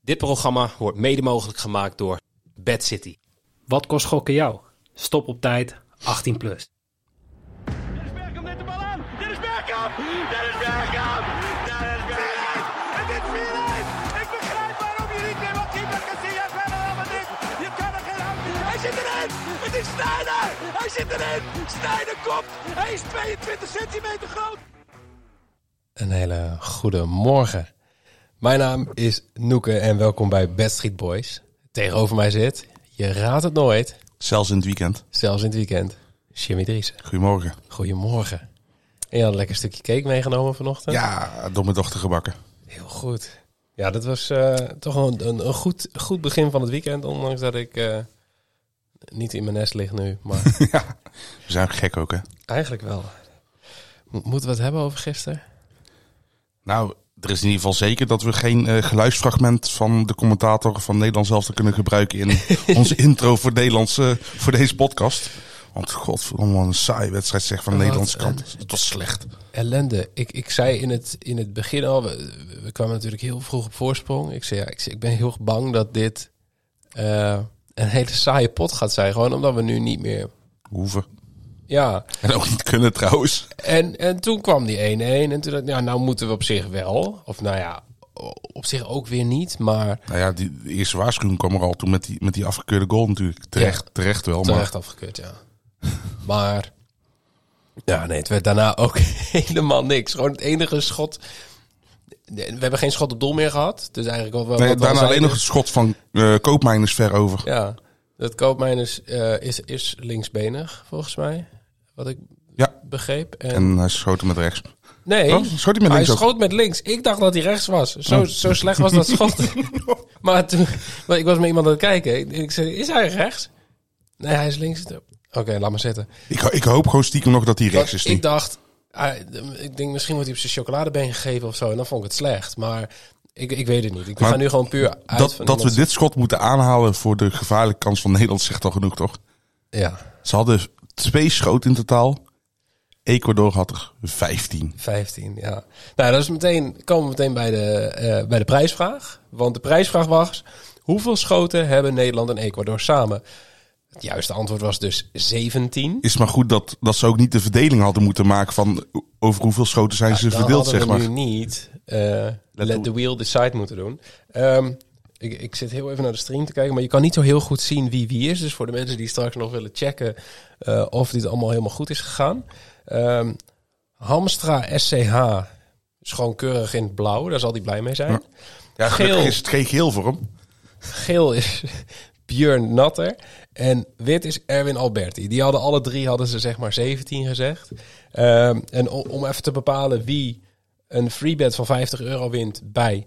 Dit programma wordt mede mogelijk gemaakt door Bad City. Wat kost gokken jou? Stop op tijd, 18 plus. Dennis Bergkamp neemt de bal aan. Dennis Bergkamp! Dennis Bergkamp! Dennis Bergkamp! Het is 4-1! Ik begrijp waarom je niet meer wat keeper Casillas verder helemaal niet. Je kan er geen hand in. Hij zit erin! Het is Sneijder! Hij zit erin! Sneijder komt! Hij is 22 centimeter groot! Een hele goede morgen. Mijn naam is Noeke en welkom bij Bad Street Boys. Tegenover mij zit, je raadt het nooit, Zelfs in het weekend. zelfs in het weekend, Jimmy Driessen. Goedemorgen. Goedemorgen. En je had een lekker stukje cake meegenomen vanochtend? Ja, door mijn dochter gebakken. Heel goed. Ja, dat was eh, toch een, een, een goed, goed begin van het weekend, ondanks dat ik eh, niet in mijn nest lig nu. Maar ja. We zijn gek ook, hè? eigenlijk wel. Mo- moeten we het hebben over gisteren? Nou, er is in ieder geval zeker dat we geen eh, geluidsfragment van de commentator van Nederland zelf te kunnen gebruiken in onze intro voor, Nederlandse, voor deze podcast. Want godverdomme, wat een saaie wedstrijd zeg van de Wat Nederlandse een- kant. Dat was slecht. ellende. Ik, ik zei in het, in het begin al, we, we kwamen natuurlijk heel vroeg op voorsprong. Ik zei, ja, ik, zei, ik ben heel bang dat dit eh, een hele saaie pot gaat zijn. Gewoon omdat we nu niet meer... Hoeven. Ja, En ook niet kunnen trouwens. en, en toen kwam die 1-1 en toen dacht ik, ja, nou moeten we op zich wel. Of nou ja, o- op zich ook weer niet, maar Nou ja, die, de eerste waarschuwing kwam er al toen met die, met die afgekeurde goal natuurlijk. Terecht, Ja. terecht wel, maar terecht afgekeurd, ja. maar ja, nee, het werd daarna ook helemaal niks. Gewoon het enige schot... We hebben geen schot op doel meer gehad. Dus eigenlijk wat, we- nee, wat we al daarna alleen zeiden. nog het schot van eh Koopmijn is ver over. Ja, dat Koopmijn is, eh, is, is linksbenig, volgens mij. Wat ik Ja. begreep. En, En hij schoot hem met rechts. nee, Oh, schoot hij met links ook? Oh. schoot met links. Ik dacht dat hij rechts was. Zo, zo slecht was dat schot. maar toen, maar ik was met iemand aan het kijken. Ik, ik zei, is hij rechts? Nee, hij is links. Oké, laat maar zitten. Ik, ho- ik hoop gewoon stiekem nog dat hij rechts is. Want nu. ik dacht, ah, d- ik denk misschien wordt hij op zijn chocoladebeen gegeven of zo. En dan vond ik het slecht. Maar ik, ik weet het niet. Ik Maar ga nu gewoon puur uit dat van dat we iemands- dit schot moeten aanhalen voor de gevaarlijke kans van Nederland zegt al genoeg, toch? Ja, Ze hadden twee schoten in totaal. Ecuador had er 15. 15, ja. Nou, dat is meteen, komen we meteen bij de, eh, bij de prijsvraag. Want de prijsvraag was: hoeveel schoten hebben Nederland en Ecuador samen? Het juiste antwoord was dus 17. Is maar goed dat, dat ze ook niet de verdeling hadden moeten maken van over hoeveel schoten zijn ze Dan verdeeld, hadden zeg we maar. nu niet eh, let, the- the wheel decide moeten doen. Ehm, ik, ik zit heel even naar de stream te kijken, maar je kan niet zo heel goed zien wie wie is. Dus voor de mensen die straks nog willen checken eh, of dit allemaal helemaal goed is gegaan. Ehm, Hamstra SCH is gewoon keurig in het blauw, daar zal hij blij mee zijn. Ja. Ja, gelukkig geel. is het geen geel voor hem. Geel is Björn Natter. En wit is Erwin Alberti. Die hadden alle drie, hadden ze zeg maar 17 gezegd. Ehm, en o- om even te bepalen wie een freebet van 50 euro wint bij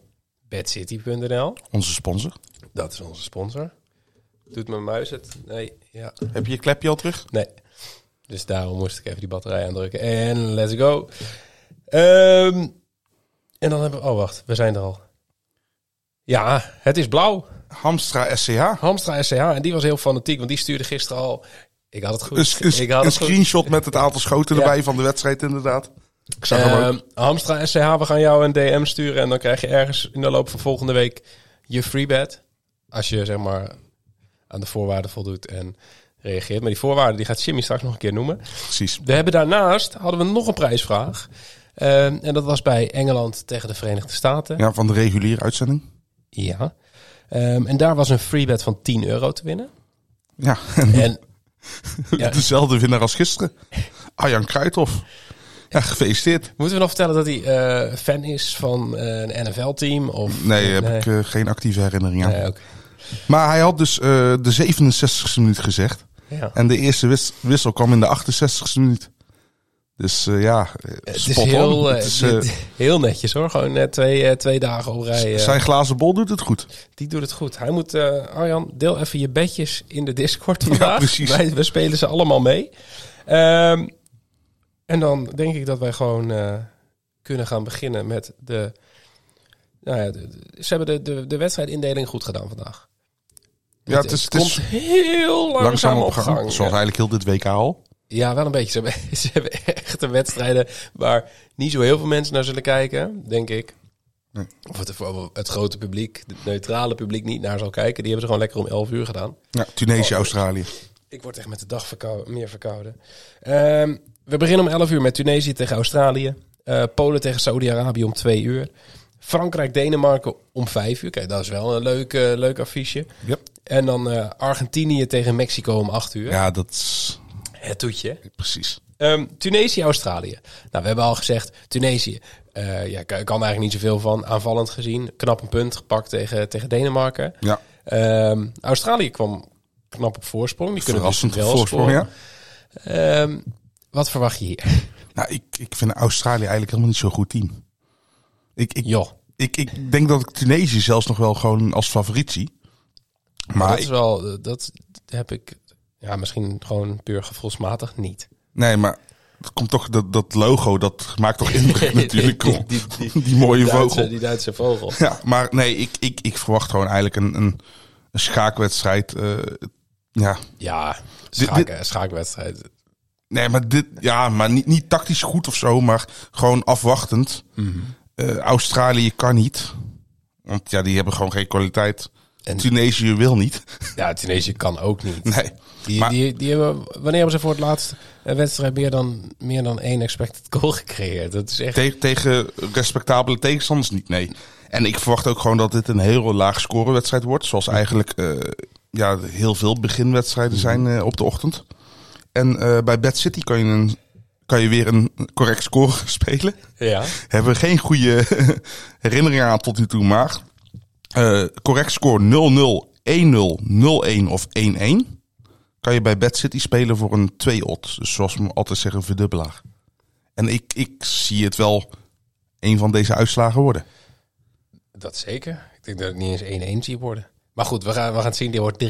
bedcity.nl. Onze sponsor. Dat is onze sponsor. Doet mijn muis het? Nee, ja. Heb je je klepje al terug? Nee. Dus daarom moest ik even die batterij aandrukken. En let's go. Ehm, en dan hebben we... Oh, wacht. We zijn er al. Ja, het is blauw. Hamstra SCH. Hamstra SCH. En die was heel fanatiek, want die stuurde gisteren al... Ik had het goed. Een, sc- een sc- ik had een het goed. screenshot met het aantal schoten Ja. erbij van de wedstrijd, inderdaad. Ik zag hem ook. Ehm, Hamstra SCH, we gaan jou een DM sturen. En dan krijg je ergens in de loop van volgende week je freebet. Als je, zeg maar, aan de voorwaarden voldoet en reageert. Maar die voorwaarden die gaat Jimmy straks nog een keer noemen. Precies. We hebben daarnaast hadden we nog een prijsvraag. Ehm, en dat was bij Engeland tegen de Verenigde Staten. Ja. Ja, van de reguliere uitzending. Ehm, en daar was een freebet van 10 euro te winnen. Ja, En Ja. Dezelfde winnaar als gisteren. Arjan Kruithof. Ja, gefeliciteerd. moeten we nog vertellen dat hij eh, fan is van eh, een NFL-team? Of, Nee, heb Nee. ik eh, geen actieve herinnering aan. Nee, oké. Maar hij had dus eh, de 67ste minuut gezegd. Ja. En de eerste wis- wissel kwam in de 68ste minuut. Dus eh, ja, eh, Het is, spot on. heel, eh, Het is, eh, dit- heel netjes hoor. Gewoon net twee, eh, twee dagen op rij. eh. zijn glazen bol doet het goed. Die doet het goed. Hij moet, eh, Arjan, deel even je bedjes in de Discord vandaag. precies. Wij, we spelen ze allemaal mee. Ehm, en dan denk ik dat wij gewoon eh, kunnen gaan beginnen met de... Nou ja, de- de- ze hebben de, de, de wedstrijdindeling goed gedaan vandaag. Ja, het is, het komt is heel langzaam, langzaam op op gang. gang. Zoals eigenlijk heel dit WK al. Ja, wel een beetje. Ze hebben, ze hebben echte wedstrijden waar niet zo heel veel mensen naar zullen kijken, denk ik. Of het, of het grote publiek, het neutrale publiek niet naar zal kijken. Die hebben ze gewoon lekker om 11 uur gedaan. Ja, Tunesië, Australië. Ik word echt met de dag verkou- meer verkouden. Ehm, we beginnen om 11 uur met Tunesië tegen Australië. Eh, Polen tegen Saudi-Arabië om 2 uur. Frankrijk-Denemarken om 5 uur. Kijk, dat is wel een leuk, eh, leuk affiche. Ja. En dan eh, Argentinië tegen Mexico om 8 uur. Ja, dat is Het toetje. hè? precies. Ehm, Tunesië, Australië. Nou, we hebben al gezegd, Tunesië. eh ja, kan, kan eigenlijk niet zoveel van. Aanvallend gezien, knap een punt gepakt tegen, tegen Denemarken. Ja, Ehm, Australië kwam knap op voorsprong. Die kunnen verrassend dus wel voorsprong, ja. scoren. Ehm, wat verwacht je hier? Nou, ik, ik vind Australië eigenlijk helemaal niet zo'n goed team. Ik, ik, Joh, ik, ik denk dat ik Tunesië zelfs nog wel gewoon als favoriet zie. Maar dat Ah, ik- is wel, dat heb ik ja, misschien gewoon puur gevoelsmatig niet. Nee, maar het komt toch, dat, dat logo, dat maakt toch indruk natuurlijk. Die- Die, die- die- mooie Duitse, vogel. die Duitse vogel. Ja, maar nee, ik, ik, ik verwacht gewoon eigenlijk een, een, een schaakwedstrijd. eh, ja. Ja, Dit- schaken, schaakwedstrijd. Nee, maar dit, ja, maar niet, niet tactisch goed of zo, maar gewoon afwachtend. Eh, Australië kan niet. Want ja, die hebben gewoon geen kwaliteit. En- Tunesië wil niet. Ja, Tunesië kan ook niet. Nee. Die, Maar- die, die hebben, wanneer hebben ze voor het laatst een wedstrijd meer dan, meer dan één expected goal gecreëerd? Dat is echt... Tegen, tegen respectabele tegenstanders niet, nee. En ik verwacht ook gewoon dat dit een heel laag scorewedstrijd wordt. Zoals eigenlijk eh, ja, heel veel beginwedstrijden zijn eh, op de ochtend. En eh, bij Bad City kan je, een, kan je weer een correct score spelen. Ja. Hebben we geen goede herinneringen aan tot nu toe, maar eh, correct score 0-0, 1-0, 0-1 of 1-1 kan je bij Bad City spelen voor een 2-odds. Dus zoals we altijd zeggen, verdubbelaar. En ik, ik zie het wel een van deze uitslagen worden. Dat zeker. Ik denk dat het niet eens 1-1 zie worden. Maar goed, we gaan, we gaan het zien. Dit wordt 3-3.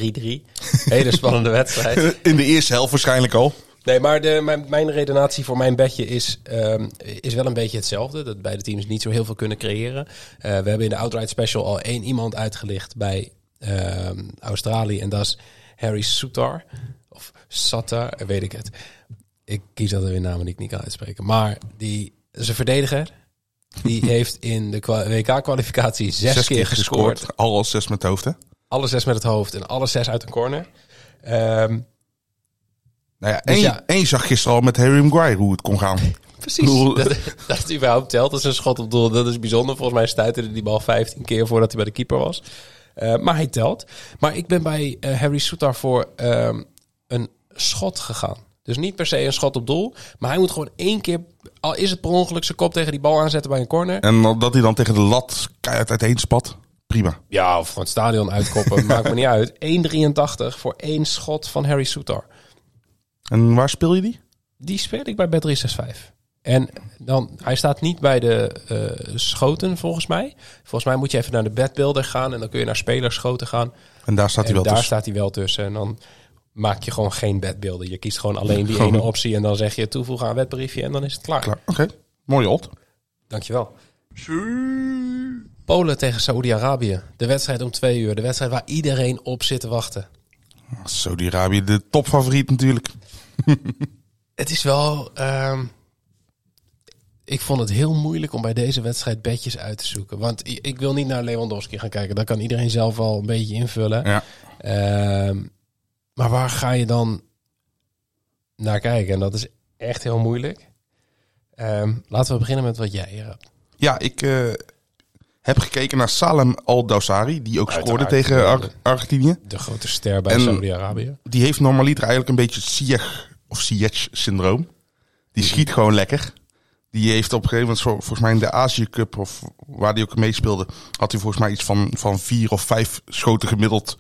Hele spannende wedstrijd. In de eerste helft waarschijnlijk al. Nee, maar de, mijn, mijn redenatie voor mijn bedje is, ehm, is wel een beetje hetzelfde. Dat beide teams niet zo heel veel kunnen creëren. Eh, we hebben in de Outright Special al één iemand uitgelicht bij ehm, Australië. En dat is Harry Soutar. Of Satar, eh, weet ik het. Ik kies altijd weer namen die ik niet kan uitspreken. Maar die dat is een verdediger. Die heeft in de kwa- WK-kwalificatie zes, keer gescoord. Al als zes met het hoofd, hè? Alle zes met het hoofd en alle zes uit een corner. Ehm, Nou ja, Dus één, ja. één zag gisteren al met Harry Maguire hoe het kon gaan. precies. Doel. Dat, dat het überhaupt telt. Dat is een schot op doel. Dat is bijzonder. Volgens mij stuitte die bal 15 keer voordat hij bij de keeper was. Eh, maar hij telt. Maar ik ben bij eh, Harry Soutar voor ehm, een schot gegaan. Dus niet per se een schot op doel. Maar hij moet gewoon één keer, al is het per ongeluk, zijn kop tegen die bal aanzetten bij een corner. En dan- dat hij dan tegen de lat keihard uiteen spat. Prima. Ja, of gewoon het stadion uitkoppen. maakt me niet uit. 1,83 voor één schot van Harry Soutar. En waar speel je die? Die speel ik bij Bet365. En dan, hij staat niet bij de eh, schoten volgens mij. Volgens mij moet je even naar de bedbeelden gaan en dan kun je naar spelerschoten gaan. En daar staat en hij wel daar tussen. staat hij wel tussen. En dan maak je gewoon geen bedbeelden. Je kiest gewoon alleen die ene optie en dan zeg je toevoegen aan wedbriefje en dan is het klaar. Klaar. Oké, mooie odd. Dankjewel. Polen tegen Saoedi-Arabië. De wedstrijd om twee uur. De wedstrijd waar iedereen op zit te wachten. Saudi-Arabië, de topfavoriet natuurlijk. Het is wel. ehm, ik vond het heel moeilijk om bij deze wedstrijd bedjes uit te zoeken. Want i- ik wil niet naar Lewandowski gaan kijken. Dat kan iedereen zelf wel een beetje invullen. Ja. Ehm, maar waar ga je dan naar kijken? En dat is echt heel moeilijk. Ehm, laten we beginnen met wat jij hier hebt. Ja, ik eh, heb gekeken naar Salem Al-Dawsari, die ook scoorde Uiteraard. tegen Ar- Argentinië. De grote ster bij En- Saudi-Arabië. Die heeft normaliter eigenlijk een beetje het Ziyech of Ziyech-syndroom. Die schiet gewoon lekker. Die heeft op een gegeven moment, zo- volgens mij in de Azië Cup of waar die ook meespeelde, had hij volgens mij iets van, van vier of vijf schoten gemiddeld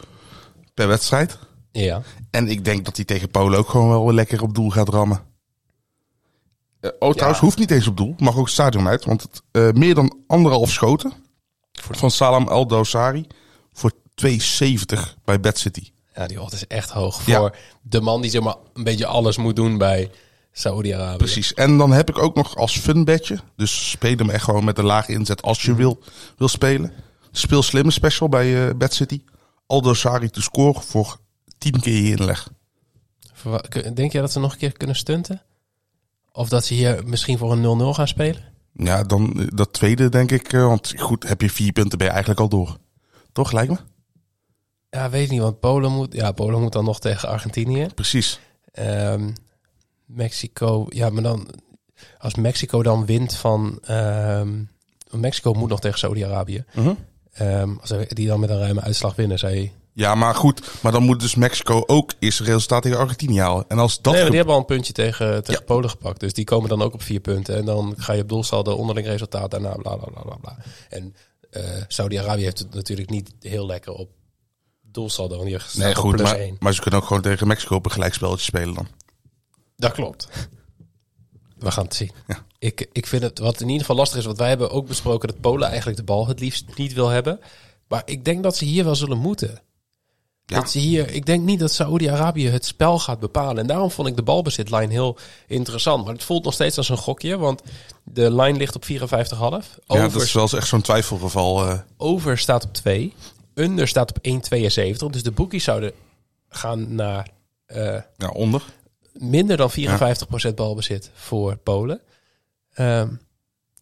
per wedstrijd. Ja. En ik denk dat hij tegen Polen ook gewoon wel lekker op doel gaat rammen. Eh, oh, trouwens, hoeft niet eens op doel. Mag ook het stadion uit. Want het, eh, meer dan anderhalf schoten van Salam Al-Dawsari voor 2,70 bij Bad City. ja, die odd is echt hoog Ja. voor de man die zeg maar een beetje alles moet doen bij Saudi-Arabië. Precies. En dan heb ik ook nog als funbedje. Dus speel hem echt gewoon met een lage inzet als je wil, wil spelen. Speel slimme special bij eh Bad City. Al-Dawsari te scoren voor 10 keer je inleg. Verwa- k- Denk jij dat ze nog een keer kunnen stunten? Of dat ze hier misschien voor een 0-0 gaan spelen? Ja, dan eh, dat tweede denk ik. eh, Want goed, heb je vier punten ben je eigenlijk al door. Toch, lijkt me? Ja, weet niet, want Polen moet, ja, Polen moet dan nog tegen Argentinië. Precies. Ehm, Mexico, ja, maar dan... Als Mexico dan wint van... ehm, want Mexico moet nog tegen Saudi-Arabië. Mhm. Ehm, als ze- die dan met een ruime uitslag winnen, zei je. Ja, maar goed. Maar dan moet dus Mexico ook eerst een resultaat tegen Argentinië halen. En als nee, dat... maar gebe- die hebben al een puntje tegen, tegen Polen gepakt. Dus die komen dan ook op vier punten. En dan ga je op doelsaldo onderling resultaat daarna, bla bla bla bla. bla. En eh, Saudi-Arabië heeft het natuurlijk niet heel lekker op doelsaldo. Want die staat Nee, op goed. plus Maar, één. maar ze kunnen ook gewoon tegen Mexico op een gelijkspelletje spelen dan. Dat klopt. We gaan het zien. Ja. Ik, ik vind het, wat in ieder geval lastig is, want wij hebben ook besproken dat Polen eigenlijk de bal het liefst niet wil hebben. Maar ik denk dat ze hier wel zullen moeten. Ja. Dat ze hier, ik denk niet dat Saoedi-Arabië het spel gaat bepalen. En daarom vond ik de balbezitlijn heel interessant. Maar het voelt nog steeds als een gokje, want de lijn ligt op 54,5. Over, Ja, dat is wel eens echt zo'n twijfelgeval. eh. over staat op 2. Under staat op 1,72. Dus de boekies zouden gaan naar eh, ja, onder. minder dan 54% balbezit voor Polen. Ehm,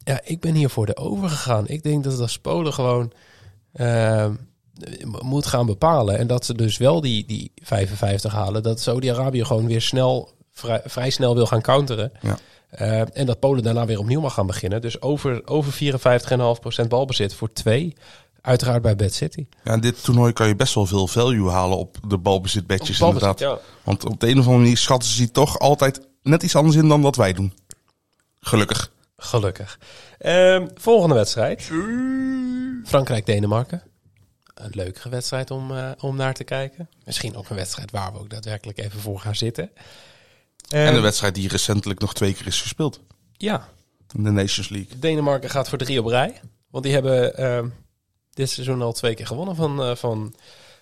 ja, ik ben hier voor de over gegaan. Ik denk dat als Polen gewoon ehm, m- moet gaan bepalen. En dat ze dus wel die, die 55 halen. Dat Saudi-Arabië gewoon weer snel, vrij, vrij snel wil gaan counteren. Ja. Eh, en dat Polen daarna weer opnieuw mag gaan beginnen. Dus over, over 54,5% balbezit voor twee. Uiteraard bij Bad City. Ja, in dit toernooi kan je best wel veel value halen op de balbezitbedjes Op balbezit, inderdaad. Want op de een of andere manier schatten ze die toch altijd net iets anders in dan dat wij doen. Gelukkig. Gelukkig. Ehm, volgende wedstrijd. Frankrijk-Denemarken. Een leuke wedstrijd om, eh, om naar te kijken. Misschien ook een wedstrijd waar we ook daadwerkelijk even voor gaan zitten. Ehm, En de wedstrijd die recentelijk nog twee keer is gespeeld. ja, In de Nations League. Denemarken gaat voor drie op rij. Want die hebben ehm, dit seizoen al twee keer gewonnen van, eh, van,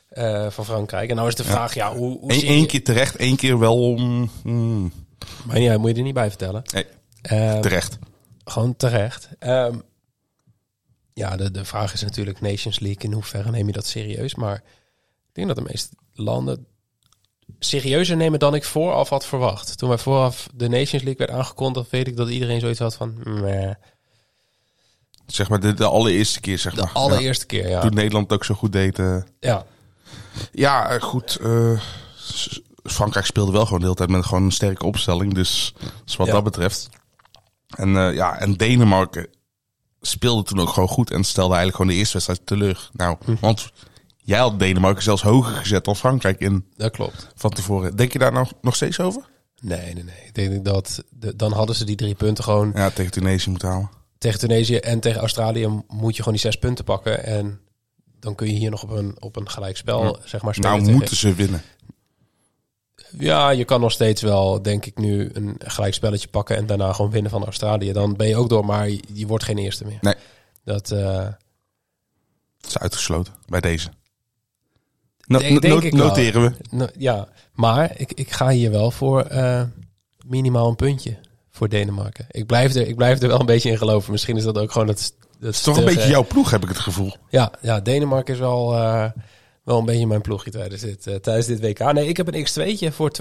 eh, van Frankrijk. En nou is de vraag, ja, hoe, hoe Eén zie je- één keer terecht, één keer wel om... hmm, Maar ja, moet je er niet bij vertellen. nee, Ehm, terecht. Gewoon terecht. Ehm, ja, de, de vraag is natuurlijk Nations League. In hoeverre neem je dat serieus? Maar ik denk dat de meeste landen serieuzer nemen dan ik vooraf had verwacht. Toen wij vooraf de Nations League werd aangekondigd, weet ik dat iedereen zoiets had van... Meh. Zeg maar de, de allereerste keer, zeg De maar. Ja, allereerste keer, ja. toen Nederland het ook zo goed deed. eh. ja. Ja, eh, goed. eh, S- Frankrijk speelde wel gewoon de hele tijd met gewoon een sterke opstelling. Dus, dus wat Ja. dat betreft. En, eh, ja, en Denemarken speelde toen ook gewoon goed. En stelde eigenlijk gewoon de eerste wedstrijd teleur. Nou, want jij had Denemarken zelfs hoger gezet dan Frankrijk in Dat klopt. van tevoren. Denk je daar nou nog steeds over? Nee, nee, nee. Ik denk dat de- dan hadden ze die drie punten gewoon Ja, tegen Tunesië moeten halen. tegen Tunesië en tegen Australië moet je gewoon die zes punten pakken. En dan kun je hier nog op een, op een gelijk spel, zeg maar, spelen. Nou tegen- moeten ze winnen. Ja, je kan nog steeds wel, denk ik, nu een gelijk spelletje pakken en daarna gewoon winnen van Australië. Dan ben je ook door, maar je, je wordt geen eerste meer. Nee. Dat eh, Het is uitgesloten bij deze. No- Denk- denk no- ik wel. noteren we. nou, ja, maar ik, ik ga hier wel voor eh, minimaal een puntje voor Denemarken. Ik blijf, er, ik blijf er wel een beetje in geloven. Misschien is dat ook gewoon dat. Dat Het is toch een eh, beetje jouw ploeg, heb ik het gevoel. Ja, ja Denemarken is wel, eh, wel een beetje mijn ploegje tijdens dit, eh, tijdens dit WK. Nee, ik heb een X2'tje voor 2-12.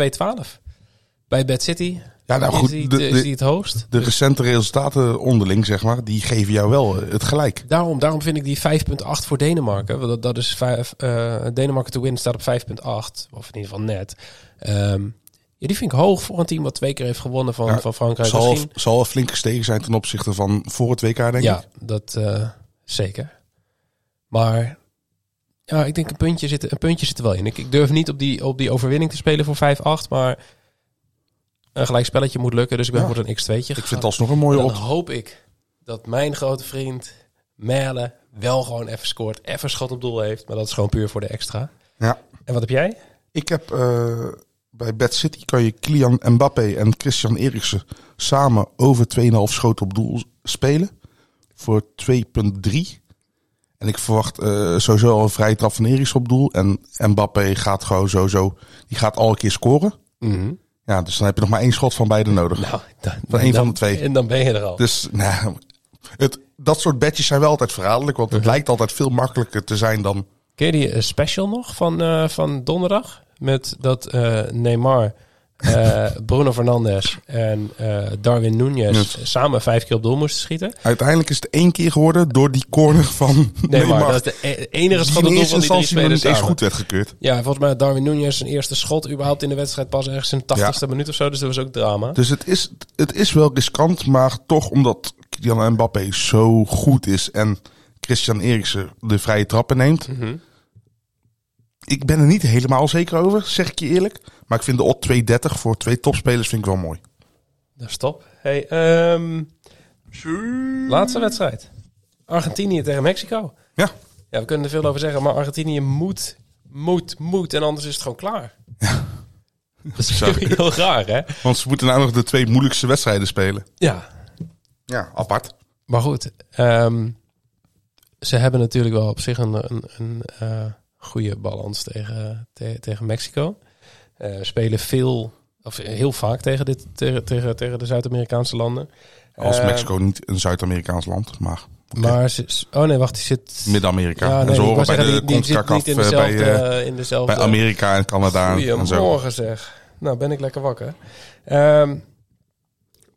Bij Bad City Ja, nou is, goed. die, de- is de- die het hoogst. De recente resultaten onderling, zeg maar, die geven jou wel eh, het gelijk. Daarom, daarom vind ik die 5.8 voor Denemarken. Want dat, dat is vijf, eh, Denemarken to win staat op 5.8. Of in ieder geval net. Ehm, ja, die vind ik hoog voor een team wat twee keer heeft gewonnen van, Ja, van Frankrijk. Zal, Misschien- zal wel flink gestegen zijn ten opzichte van voor het WK, denk ja, ik. dat eh, zeker. Maar ja, ik denk een puntje zit, een puntje zit er wel in. Ik, ik durf niet op die, op die overwinning te spelen voor 5-8. Maar een gelijk spelletje moet lukken. Dus ik ben Ja. voor een X2'tje Ik vind het alsnog een mooie dan op. hoop ik dat mijn grote vriend Merle wel gewoon even scoort, even schot op doel heeft. Maar dat is gewoon puur voor de extra. Ja. En wat heb jij? Ik heb eh, bij Bad City kan je Kylian Mbappé en Christian Eriksen samen over 2,5 schoten op doel spelen. Voor 2,3. En ik verwacht eh, sowieso al een vrije trap van Eriksen op doel. En Mbappé gaat gewoon sowieso, die gaat al een keer scoren. Ja, dus dan heb je nog maar één schot van beide nodig. Nou, dan, Van één van de twee. En dan ben je er al. Dus nou, het, dat soort bedjes zijn wel altijd verraderlijk. Want het lijkt altijd veel makkelijker te zijn dan... Ken je die eh, special nog van, eh, van donderdag? Met dat eh, Neymar eh, Bruno Fernandes en eh, Darwin Núñez Yes. samen vijf keer op doel moesten schieten. Uiteindelijk is het één keer geworden door die corner van Nee, maar Neymar. dat is de e- enige die schot op in doel van eerste die drie instantie nog spelers niet eens samen. goed werd gekeurd. Ja, volgens mij had Darwin Núñez zijn eerste schot überhaupt in de wedstrijd pas ergens in de 80ste minuut of zo. Dus dat was ook drama. Dus het is, het is wel riskant, maar toch omdat Kylian Mbappé zo goed is en Christian Eriksen de vrije trappen neemt. Mhm. Ik ben er niet helemaal zeker over, zeg ik je eerlijk. Maar ik vind de odd 230 voor twee topspelers vind ik wel mooi. Dat is top. Nou, Hey, ehm, laatste wedstrijd. Argentinië tegen Mexico. Ja, Ja, we kunnen er veel over zeggen, maar Argentinië moet, moet, moet. En anders is het gewoon klaar. Dat is Sorry. heel raar, hè? want ze moeten nou nog de twee moeilijkste wedstrijden spelen. Ja, Ja, apart. Maar goed, ehm, ze hebben natuurlijk wel op zich een, een, een eh, goede balans tegen, te- tegen Mexico. Eh, spelen veel, of heel vaak tegen, dit, tegen, tegen, tegen de Zuid-Amerikaanse landen. Als Eh, Mexico niet een Zuid-Amerikaans land, maar Maar ze, ze- oh nee, wacht, die zit... Midden-Amerika. Ja, en nee, ze ik horen wou bij zeggen, de die- die zit CONCACAF niet in eh, bij, dezelfde... eh, eh, in dezelfde bij Amerika en Canada en zo. Goedemorgen zeg. Nou, ben ik lekker wakker. Ehm,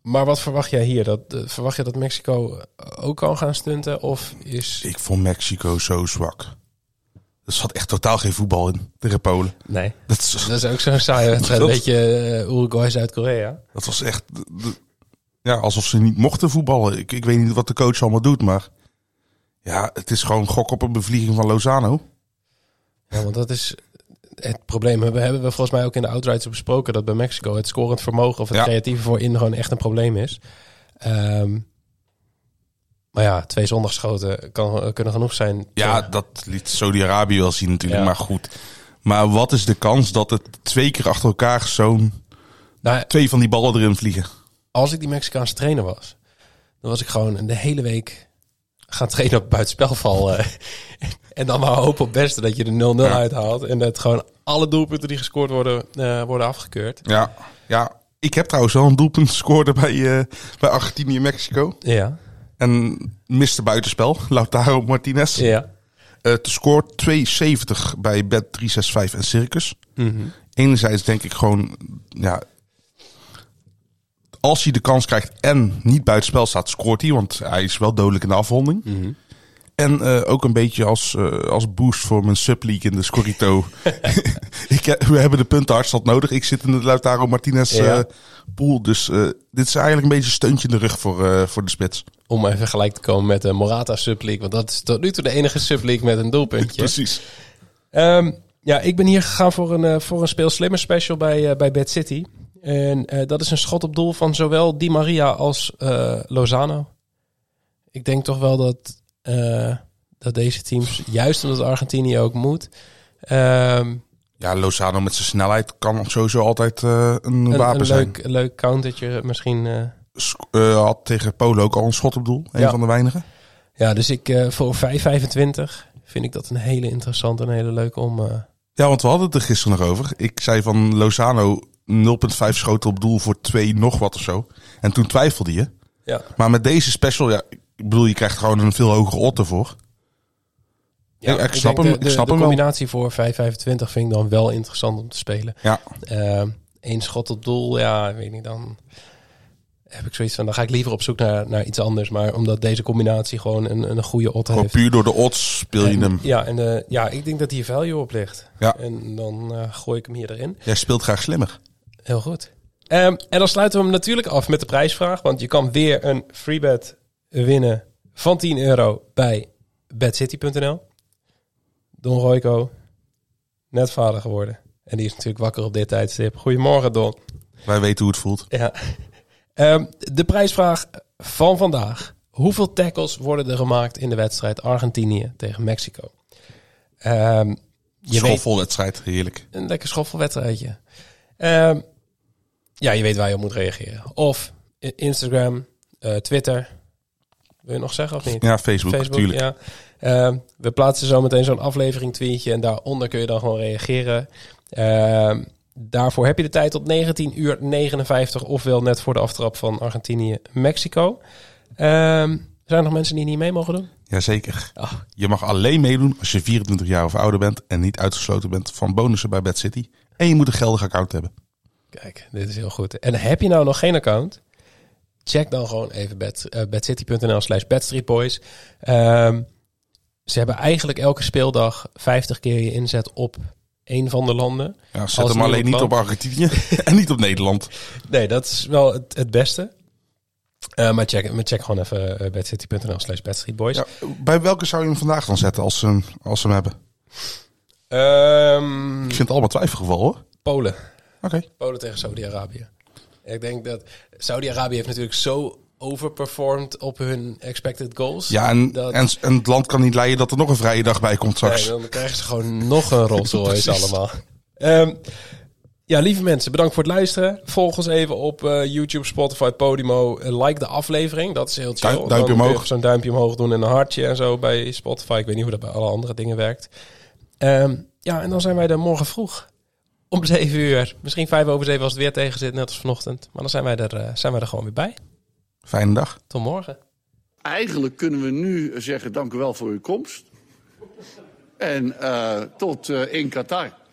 maar wat verwacht jij hier? Dat, eh, verwacht je dat Mexico ook kan gaan stunten? Of is... Ik vond Mexico zo zwak. Er zat echt totaal geen voetbal in tegen Polen. Nee. Dat, is- Dat is ook zo'n saaie wedstrijd. Dat- Weet je, eh, Uruguay, Zuid-Korea. dat was echt d- d- ja, alsof ze niet mochten voetballen. Ik, ik weet niet wat de coach allemaal doet, maar ja, het is gewoon gok op een bevlieging van Lozano. Ja, want dat is het probleem. We hebben we volgens mij ook in de outrights besproken dat bij Mexico het scorend vermogen of het Ja. creatieve voorin gewoon echt een probleem is. Ehm, maar ja, twee zondagschoten kan, kunnen genoeg zijn. Ja, Voor- dat liet Saudi-Arabië wel zien natuurlijk, Ja. maar goed. Maar wat is de kans dat het twee keer achter elkaar zo'n Nou, twee van die ballen erin vliegen? als ik die Mexicaanse trainer was, dan was ik gewoon de hele week gaan trainen op buitenspelval. eh. en dan maar hopen op het beste dat je de 0-0 Ja. uithaalt. En dat gewoon alle doelpunten die gescoord worden, eh, worden afgekeurd. Ja, ja. Ik heb trouwens wel een doelpunt gescoord bij, eh, bij Argentinië-Mexico. Ja, En miste buitenspel, Lautaro Martinez. ja. Eh, Het scoort 270 bij bed 365 en Circus. Enerzijds denk ik gewoon, ja, als hij de kans krijgt en niet buitenspel staat, scoort hij. Want hij is wel dodelijk in de afronding. En eh, ook een beetje als, eh, als boost voor mijn subleague in de Scorito. ik, heb- we hebben de punten hardstand nodig. Ik zit in de Lautaro Martinez Ja. eh, pool. Dus eh, dit is eigenlijk een beetje een steuntje in de rug voor, eh, voor de spits. Om even gelijk te komen met de Morata subleague. Want dat is tot nu toe de enige subleague met een doelpuntje. Precies. Ehm, ja, ik ben hier gegaan voor een, eh, voor een speel slimmer special bij, eh, bij Bad City. En eh, dat is een schot op doel van zowel Di Maria als eh, Lozano. Ik denk toch wel dat, eh, dat deze teams, juist omdat Argentinië ook moet, ehm, Ja, Lozano met zijn snelheid kan sowieso altijd eh, een, een, wapen een zijn. leuk, leuk countertje misschien... eh, Sc- eh, had tegen Polen ook al een schot op doel. Een Ja. van de weinigen. ja, dus ik, eh, voor 5,25 vind ik dat een hele interessante en hele leuke om... eh, Ja, want we hadden het er gisteren nog over. Ik zei van Lozano 0,5 schoten op doel voor 2 nog wat of zo. En toen twijfelde je. ja. Maar met deze special, ja, ik bedoel, je krijgt gewoon een veel hogere otter voor. ik, ik snap denk hem, de- ik de- snap de hem wel. combinatie voor 525 vind ik dan wel interessant om te spelen. Ja, Eén schot op doel, ja, ik weet niet, dan heb ik zoiets van... dan ga ik liever op zoek naar, naar iets anders. Maar omdat deze combinatie gewoon een, een goede odd gewoon heeft. puur door de odds speel je En- hem. Ja, en eh, ja, ik denk dat hier value op ligt. Ja. En dan eh, gooi ik hem hier erin. Jij speelt graag slimmer. Heel goed. Ehm, en dan sluiten we hem natuurlijk af met de prijsvraag. Want je kan weer een freebet winnen van 10 euro bij bedcity.nl. Don Royco, net vader geworden. En die is natuurlijk wakker op dit tijdstip. Goedemorgen, Don. Wij weten hoe het voelt. Ja. Ehm, de prijsvraag van vandaag. Hoeveel tackles worden er gemaakt in de wedstrijd Argentinië tegen Mexico? Ehm, je weet- Schoffelwedstrijd, heerlijk. een lekker schoffelwedstrijdje. Ehm, ja, je weet waar je op moet reageren. Of i- Instagram, eh, Twitter. Wil je nog zeggen of niet? Ja, Facebook, Facebook, tuurlijk. ja. Ehm, we plaatsen zo meteen zo'n aflevering tweetje en daaronder kun je dan gewoon reageren. Ehm, daarvoor heb je de tijd tot 19 uur 59, ofwel net voor de aftrap van Argentinië, Mexico. Ehm, zijn er nog mensen die niet mee mogen doen? Jazeker. Ah. Je mag alleen meedoen als je 24 jaar of ouder bent en niet uitgesloten bent van bonussen bij Bad City. En je moet een geldig account hebben. Kijk, dit is heel goed. En heb je nou nog geen account? Check dan gewoon even bad, eh, badcity.nl slash badstreetboys. Ehm, ze hebben eigenlijk elke speeldag 50 keer je inzet op één van de landen. Ja, zet Als hem alleen niet Nederland- op Argentinië en niet op Nederland. Nee, dat is wel het, het beste. Eh, maar, check, maar check gewoon even eh, badcity.nl slash badstreetboys. Ja, bij welke zou je hem vandaag dan zetten als ze hem, als ze hem hebben? Ehm, Ik vind het allemaal twijfelgeval hoor. Oké. Polen. Polen tegen Saudi-Arabië. Ik denk dat Saudi-Arabië heeft natuurlijk zo overperformed op hun expected goals. Ja, en, dat, en, en het land kan niet leiden dat er nog een vrije dag bij komt straks. Nee, dan krijgen ze gewoon nog een Rolls Royce Precies. allemaal. Ehm, ja, lieve mensen, bedankt voor het luisteren. Volg ons even op eh, YouTube, Spotify, Podimo. Eh, like de aflevering, dat is heel chill. Duim- duimpje Dan kun je omhoog. even Zo'n duimpje omhoog doen en een hartje en zo bij Spotify. Ik weet niet hoe dat bij alle andere dingen werkt. Ehm, ja, en dan zijn wij er morgen vroeg. Om 7 uur. Misschien 5 over 7 als het weer tegen zit, net als vanochtend. Maar dan zijn wij er, eh, zijn wij er gewoon weer bij. Fijne dag. Tot morgen. Eigenlijk kunnen we nu zeggen: dank u wel voor uw komst. En eh, tot eh, in Qatar.